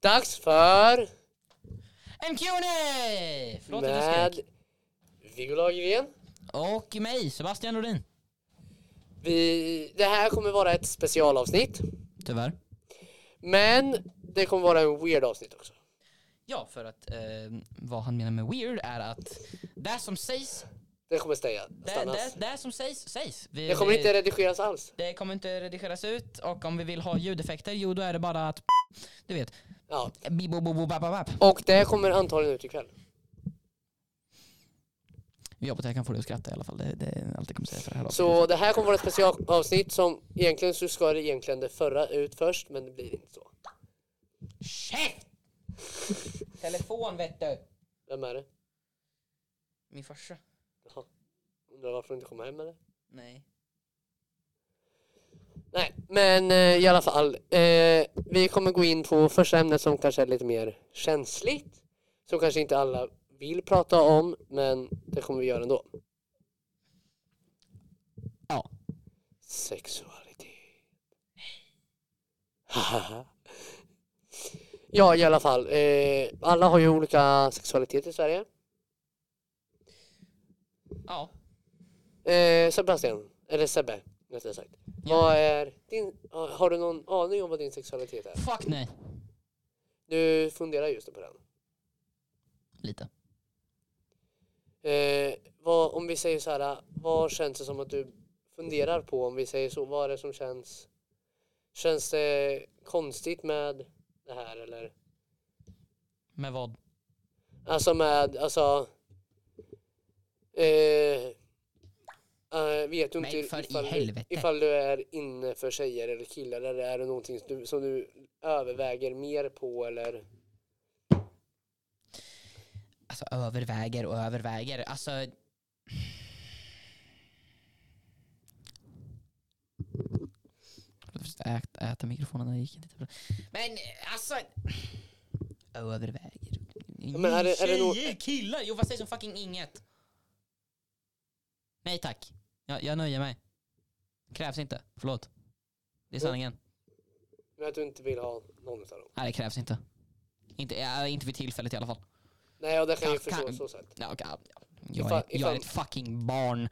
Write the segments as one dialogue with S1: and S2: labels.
S1: Dags för...
S2: En Q&A! Förlåt att jag
S1: Med
S2: skrek.
S1: Viggo Lagergren.
S2: Och mig, Sebastian Rodin.
S1: Vi, det här kommer vara ett specialavsnitt.
S2: Tyvärr.
S1: Men det kommer vara en weird avsnitt också.
S2: Ja, för att eh, vad han menar med weird är att det som sägs,
S1: Det kommer säga,
S2: det, det,
S1: stannas.
S2: det som sägs, sägs. Vi,
S1: Det kommer inte redigeras alls.
S2: det kommer inte redigeras ut och om vi vill ha ljudeffekter, jo då är det bara att du vet,
S1: Ja.
S2: bibo bo bo bap bap bap.
S1: Och det kommer antagligen ut ikväll.
S2: Vi hoppas att jag kan få dig att skratta i alla fall, det, det är allt jag kommer säga för det här avsnittet.
S1: Så det här kommer vara ett specialavsnitt som egentligen så ska det egentligen det förra ut först men det blir inte så.
S2: Käft! Telefon vet du.
S1: Vem är det?
S2: Min farsa.
S1: Jaha. Undrar varför du inte kom hem eller?
S2: Nej.
S1: Nej, men eh, i alla fall. Eh, vi kommer gå in på första ämnet som kanske är lite mer känsligt. Som kanske inte alla vill prata om, men det kommer vi göra ändå.
S2: Ja.
S1: Sexualitet. Haha. ja, i alla fall. Eh, alla har ju olika sexualitet i Sverige.
S2: Ja.
S1: Eh, Sebastian, eller Sebbe, rättare sagt. Vad är din, har du någon aning om vad din sexualitet är?
S2: Fuck nej.
S1: Du funderar just på den.
S2: Lite.
S1: Eh, vad, om vi säger så här, vad känns det som att du funderar på om vi säger så? Vad är det som känns? Känns det konstigt med det här eller?
S2: Med vad?
S1: Alltså med, alltså. Eh, eh, vet du
S2: Men
S1: inte
S2: för i
S1: ifall, du,
S2: helvete.
S1: ifall du är inne för tjejer eller killar eller är det någonting som du, som du överväger mer på eller?
S2: Alltså överväger och överväger. Alltså... Äta, äta mikrofonen, den gick inte bra. Men alltså... Överväger.
S1: Men är det- är det nog-
S2: Tjejer, killar, jo vad sägs om fucking inget? Nej tack. Jag, jag nöjer mig. Krävs inte. Förlåt. Det är
S1: Mm.
S2: sanningen.
S1: Men att du inte vill ha någon utav dem?
S2: Nej det krävs inte. Inte, ja, inte vid tillfället i alla fall.
S1: Nej, och det kan jag ju
S2: Kan-
S1: förstå
S2: kan-
S1: så sätt.
S2: Ja, okej, ja. Jag,
S1: Ifall-
S2: är, jag
S1: ifall-
S2: är ett fucking barn.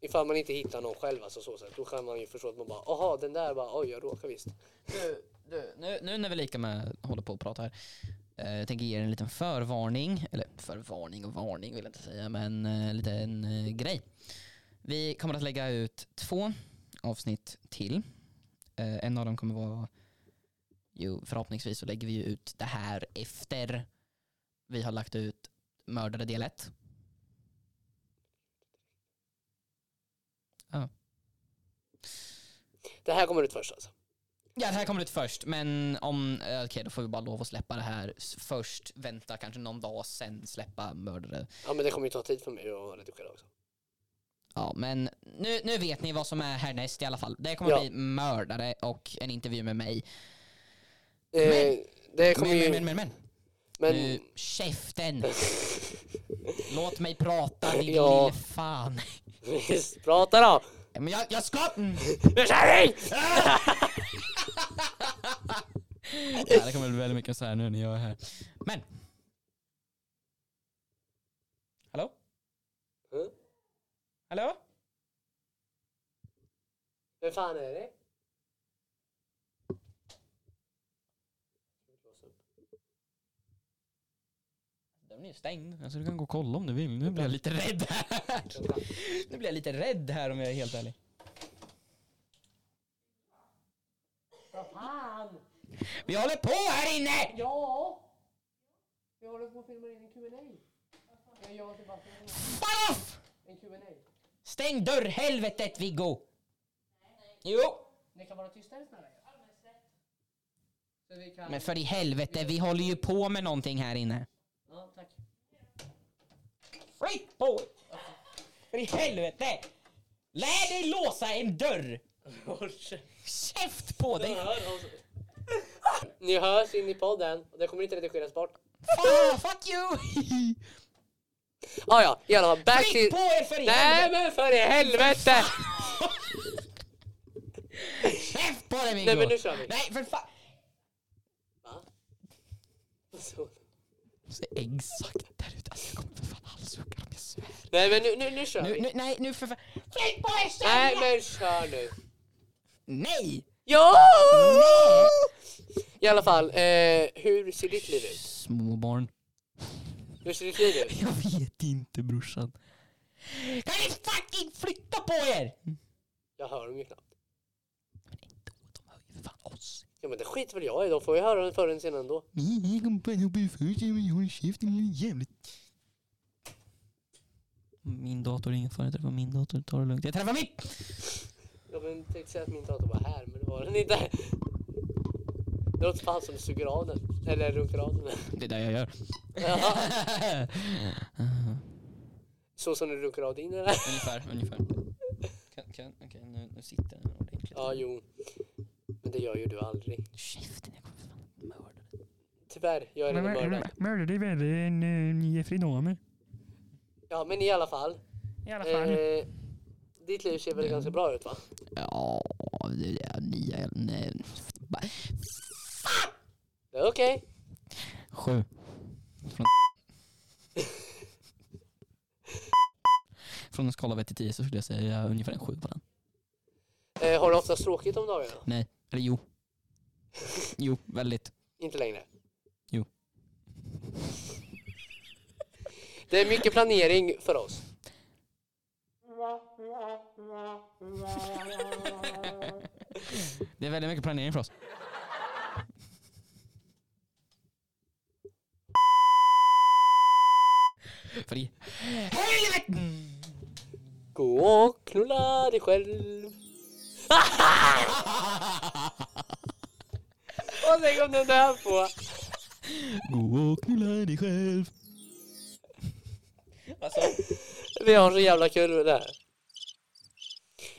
S1: Ifall man inte hittar någon själv alltså så sätt, då kan man ju förstå att man bara, aha den där bara, oj jag råkar visst.
S2: Du, du, nu, nu när vi lika med håller på att prata här. eh, Jag tänker ge er en liten förvarning. Eller förvarning och varning vill jag inte säga. Men eh, lite en eh, grej. Vi kommer att lägga ut två avsnitt till. Eh, en av dem kommer vara... Jo, förhoppningsvis så lägger vi ju ut det här efter vi har lagt ut mördare del 1.
S1: Det här kommer ut först alltså.
S2: Ja, det här kommer ut först, men om... eh, Okej, då får vi bara lov att släppa det här s- först. Vänta kanske någon dag, sen släppa mördare.
S1: Ja men det kommer ju ta tid för mig att redigera också.
S2: Ja, men nu, nu vet ni vad som är härnäst i alla fall. Det kommer
S1: Ja.
S2: bli mördare och en intervju med mig.
S1: Eh, det kommer
S2: Men,
S1: ju,
S2: men,
S1: men,
S2: men, men, men. Nu, käften! Låt mig prata, din
S1: Ja.
S2: lille fan. eh.
S1: visst, prata då!
S2: Men jag, jag ska... Mm.
S1: Nu kör vi!
S2: Ja, det kommer bli väldigt mycket så här nu när jag är här. Men. Hallå?
S1: Mm.
S2: Hallå?
S1: Vem fan är det?
S2: Den är ju stängd. Alltså du kan gå och kolla om du vill. Nu blir jag lite rädd här. Nu blir jag lite rädd här om jag är helt ärlig.
S1: Fan!
S2: Vi håller på här inne!
S1: Ja! Vi håller på att filma in en Q&A. Jag gör Sebastian
S2: Fan off!
S1: en Q&A.
S2: Stäng dörrhelvetet Viggo! Jo!
S1: Ni kan vara tystare snälla. Så vi kan...
S2: Men för i helvete, vi håller ju på med någonting här inne.
S1: Ja, tack.
S2: Fritt på! För i helvete! Lär dig låsa en dörr! Käft på dig!
S1: Ni hörs in i podden och det kommer inte redigeras bort.
S2: Fan, fuck you!
S1: Ah, ja, i alla fall back
S2: Fritt
S1: till...
S2: på er för i
S1: Nej
S2: helvete!
S1: men för i helvete!
S2: Käft på dig Viggo!
S1: Nej, men nu kör vi.
S2: Nej för fan!
S1: Va? så.
S2: Så Exakt där ute. Alltså, jag kommer för fan halshugga dem, jag svär.
S1: Nej men nu, nu, nu kör
S2: Nu,
S1: vi.
S2: nu, nej, nu för fan. Flytt på er
S1: Nej
S2: sälja!
S1: men kör nu.
S2: Nej!
S1: Ja!
S2: Nej!
S1: I alla fall, eh, hur ser ditt liv ut?
S2: Små barn.
S1: Hur ser ditt liv ut?
S2: Jag vet inte brorsan. Kan ni fucking flytta på er?
S1: Jag hör dem ju knappt.
S2: Men inte åt de hör ju fan oss.
S1: Ja men det skiter väl jag i, de får ju höra den förr eller senare ändå.
S2: Nej, jag kommer bara hoppa ifrån sig men jag håller käften lilla jävligt. Min dator är ingen fara, jag träffar min dator. Ta det lugnt. Jag träffar mitt!
S1: Ja men tänkte säga att min dator var här, men det var den inte. Det låter fan som suger av den. Eller runkar av den.
S2: Det är det jag gör.
S1: Jaha. Så som du runkar av din eller?
S2: ungefär, ungefär. Kan, kan, okej, nu, nu sitter den ordentligt.
S1: Ja, jo. Men det gör ju du aldrig.
S2: Käften, jag kommer för fan mörda dig.
S1: Tyvärr, jag är redan mördad.
S3: Mördade är värre än
S2: eh,
S3: uh, Jeffrey Dahmer.
S1: Ja men i alla fall.
S3: I alla fall.
S1: Eh, ditt liv ser väl ganska bra ut va?
S2: Ja, det är nya... Nej. ba-
S1: Det är Okej.
S2: Sju. Från, Från en skala av ett till tio så skulle jag säga ungefär en sju på den.
S1: Eh, har du oftast tråkigt om dagarna?
S2: Nej, eller jo. Jo, väldigt.
S1: Inte längre?
S2: Jo.
S1: Det är mycket planering för oss.
S2: Det är väldigt mycket planering för oss. För i
S1: Gå och knulla dig själv. Och sen kom den där på.
S2: Gå och knulla dig själv.
S1: Vi har så jävla kul med det här.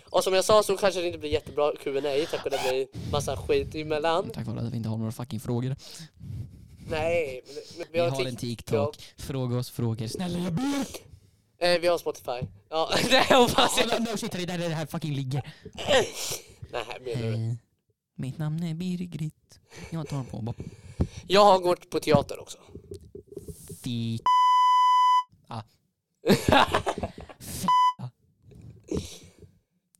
S1: Och som jag sa så kanske det inte blir jättebra Q&A tack vare att det blir massa skit emellan.
S2: Mm, Tack vare att vi inte har några fucking frågor.
S1: Nej, men, men
S2: Vi har
S1: Tik-
S2: en TikTok. Fråga oss frågor. Snälla jag ber!
S1: Eh, vi har Spotify. Ja, det hoppas jag.
S2: Oh, no, no, shit, det är där det här fucking ligger.
S1: Nej, här menar du?
S2: Hej. Mitt namn är Birgit. Jag tar på bara
S1: Jag har gått på teater också.
S2: fi... Ah. Fi...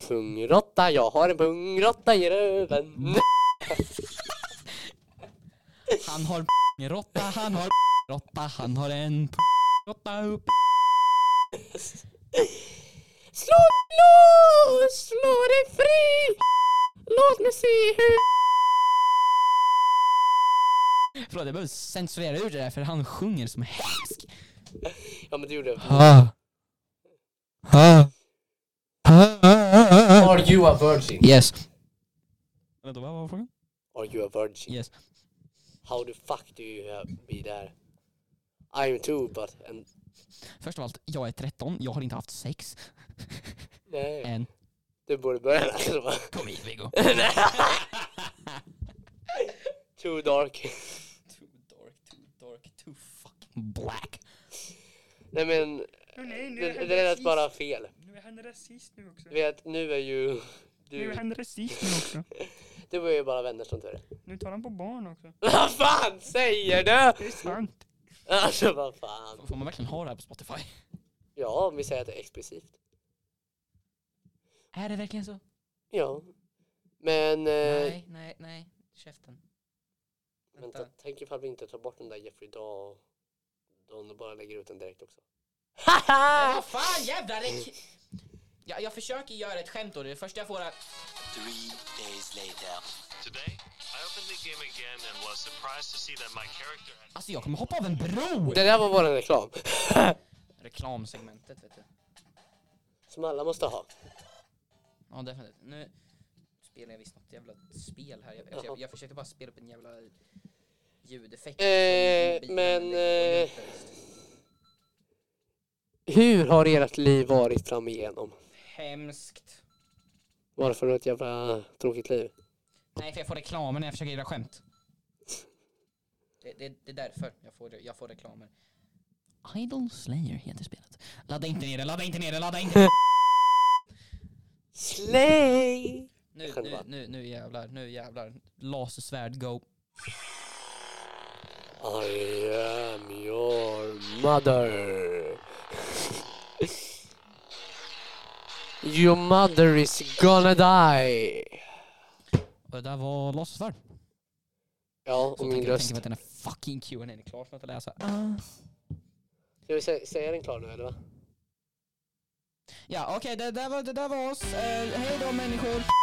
S1: Pungrotta, jag har en pungrotta i röven.
S2: Han har råtta, han har råtta, han har en råtta upp.
S1: Slå loss, slå dig fri. Låt mig se hur...
S2: Förlåt, jag behöver censurera ut det där för han sjunger som hemsk.
S1: Ja, men det gjorde jag.
S2: Ha. Ha. Ha.
S1: Are you a virgin?
S2: Yes. Vänta, vad var frågan?
S1: Are you a virgin?
S2: Yes.
S1: How the fuck do you uh, be there? I'm two, but... And...
S2: Först av allt, jag är 13, jag har inte haft sex
S1: Nej,
S2: än.
S1: du borde börja läsa va?
S2: Kom hit
S1: Too
S2: Viggo.
S1: dark.
S2: Too dark, too dark, too fucking black.
S1: Nej, men
S3: Åh, nej, nu
S1: det,
S3: är
S1: det
S3: han
S1: lät
S3: rasist.
S1: bara fel.
S3: Nu är han rasist nu också.
S1: Du vet, nu är ju...
S3: Nu är
S1: Du,
S3: han rasist nu också.
S1: du var ju bara vänner som tur är.
S3: Nu tar han på barn också.
S1: Vad fan säger du?
S3: Det är sant.
S1: Alltså vad fan.
S2: Får man verkligen ha det här på Spotify?
S1: Ja, om vi säger att det är explicit.
S2: Är det verkligen så?
S1: Ja. Men... Eh,
S2: Nej, nej, nej. Käften.
S1: vänta. tänk ifall vi inte tar bort den där Jeffrey Dahl. Don bara lägger ut den direkt också.
S2: Vad fan jävlar! det- Jag, jag försöker göra ett skämt och det första jag får är...
S4: Three days later.
S5: Today, I opened the game again and was surprised to see that my character had
S2: Alltså jag kommer hoppa av en bro!
S1: Det där var våran reklam.
S2: Reklamsegmentet vet du.
S1: Som alla måste ha.
S2: Ja definitivt. Nu spelar jag visst något jävla spel här. Jag, alltså, jag, jag försöker bara spela upp en jävla ljudeffekt. som
S1: Eh,
S2: biter,
S1: men,
S2: det går
S1: eh,
S2: inte.
S1: Hur har ert liv varit fram igenom?
S2: Hemskt.
S1: Varför har du ett jävla tråkigt liv?
S2: Nej för jag får reklamer när jag försöker göra skämt. Det, det, det är därför jag får, jag får reklamer. Idol Slayer heter spelet. Ladda inte ner det, ladda inte ner det, ladda inte
S1: Slay!
S2: Nu, nu,
S1: Själva.
S2: nu, nu jävlar, nu jävlar. Lasersvärd, go.
S1: I am your mother. Your mother is gonna die.
S2: Och det där var låtsasvärd.
S1: Ja,
S2: Så
S1: och
S2: jag
S1: min
S2: tänker- jag tänker
S1: röst.
S2: mig att den här fucking Q&A är klar för att läsa. Ah.
S1: Ska vi sä- säga den klar nu eller? va?
S2: Ja, okej, det, där var- det där var oss. Eh, hej då människor.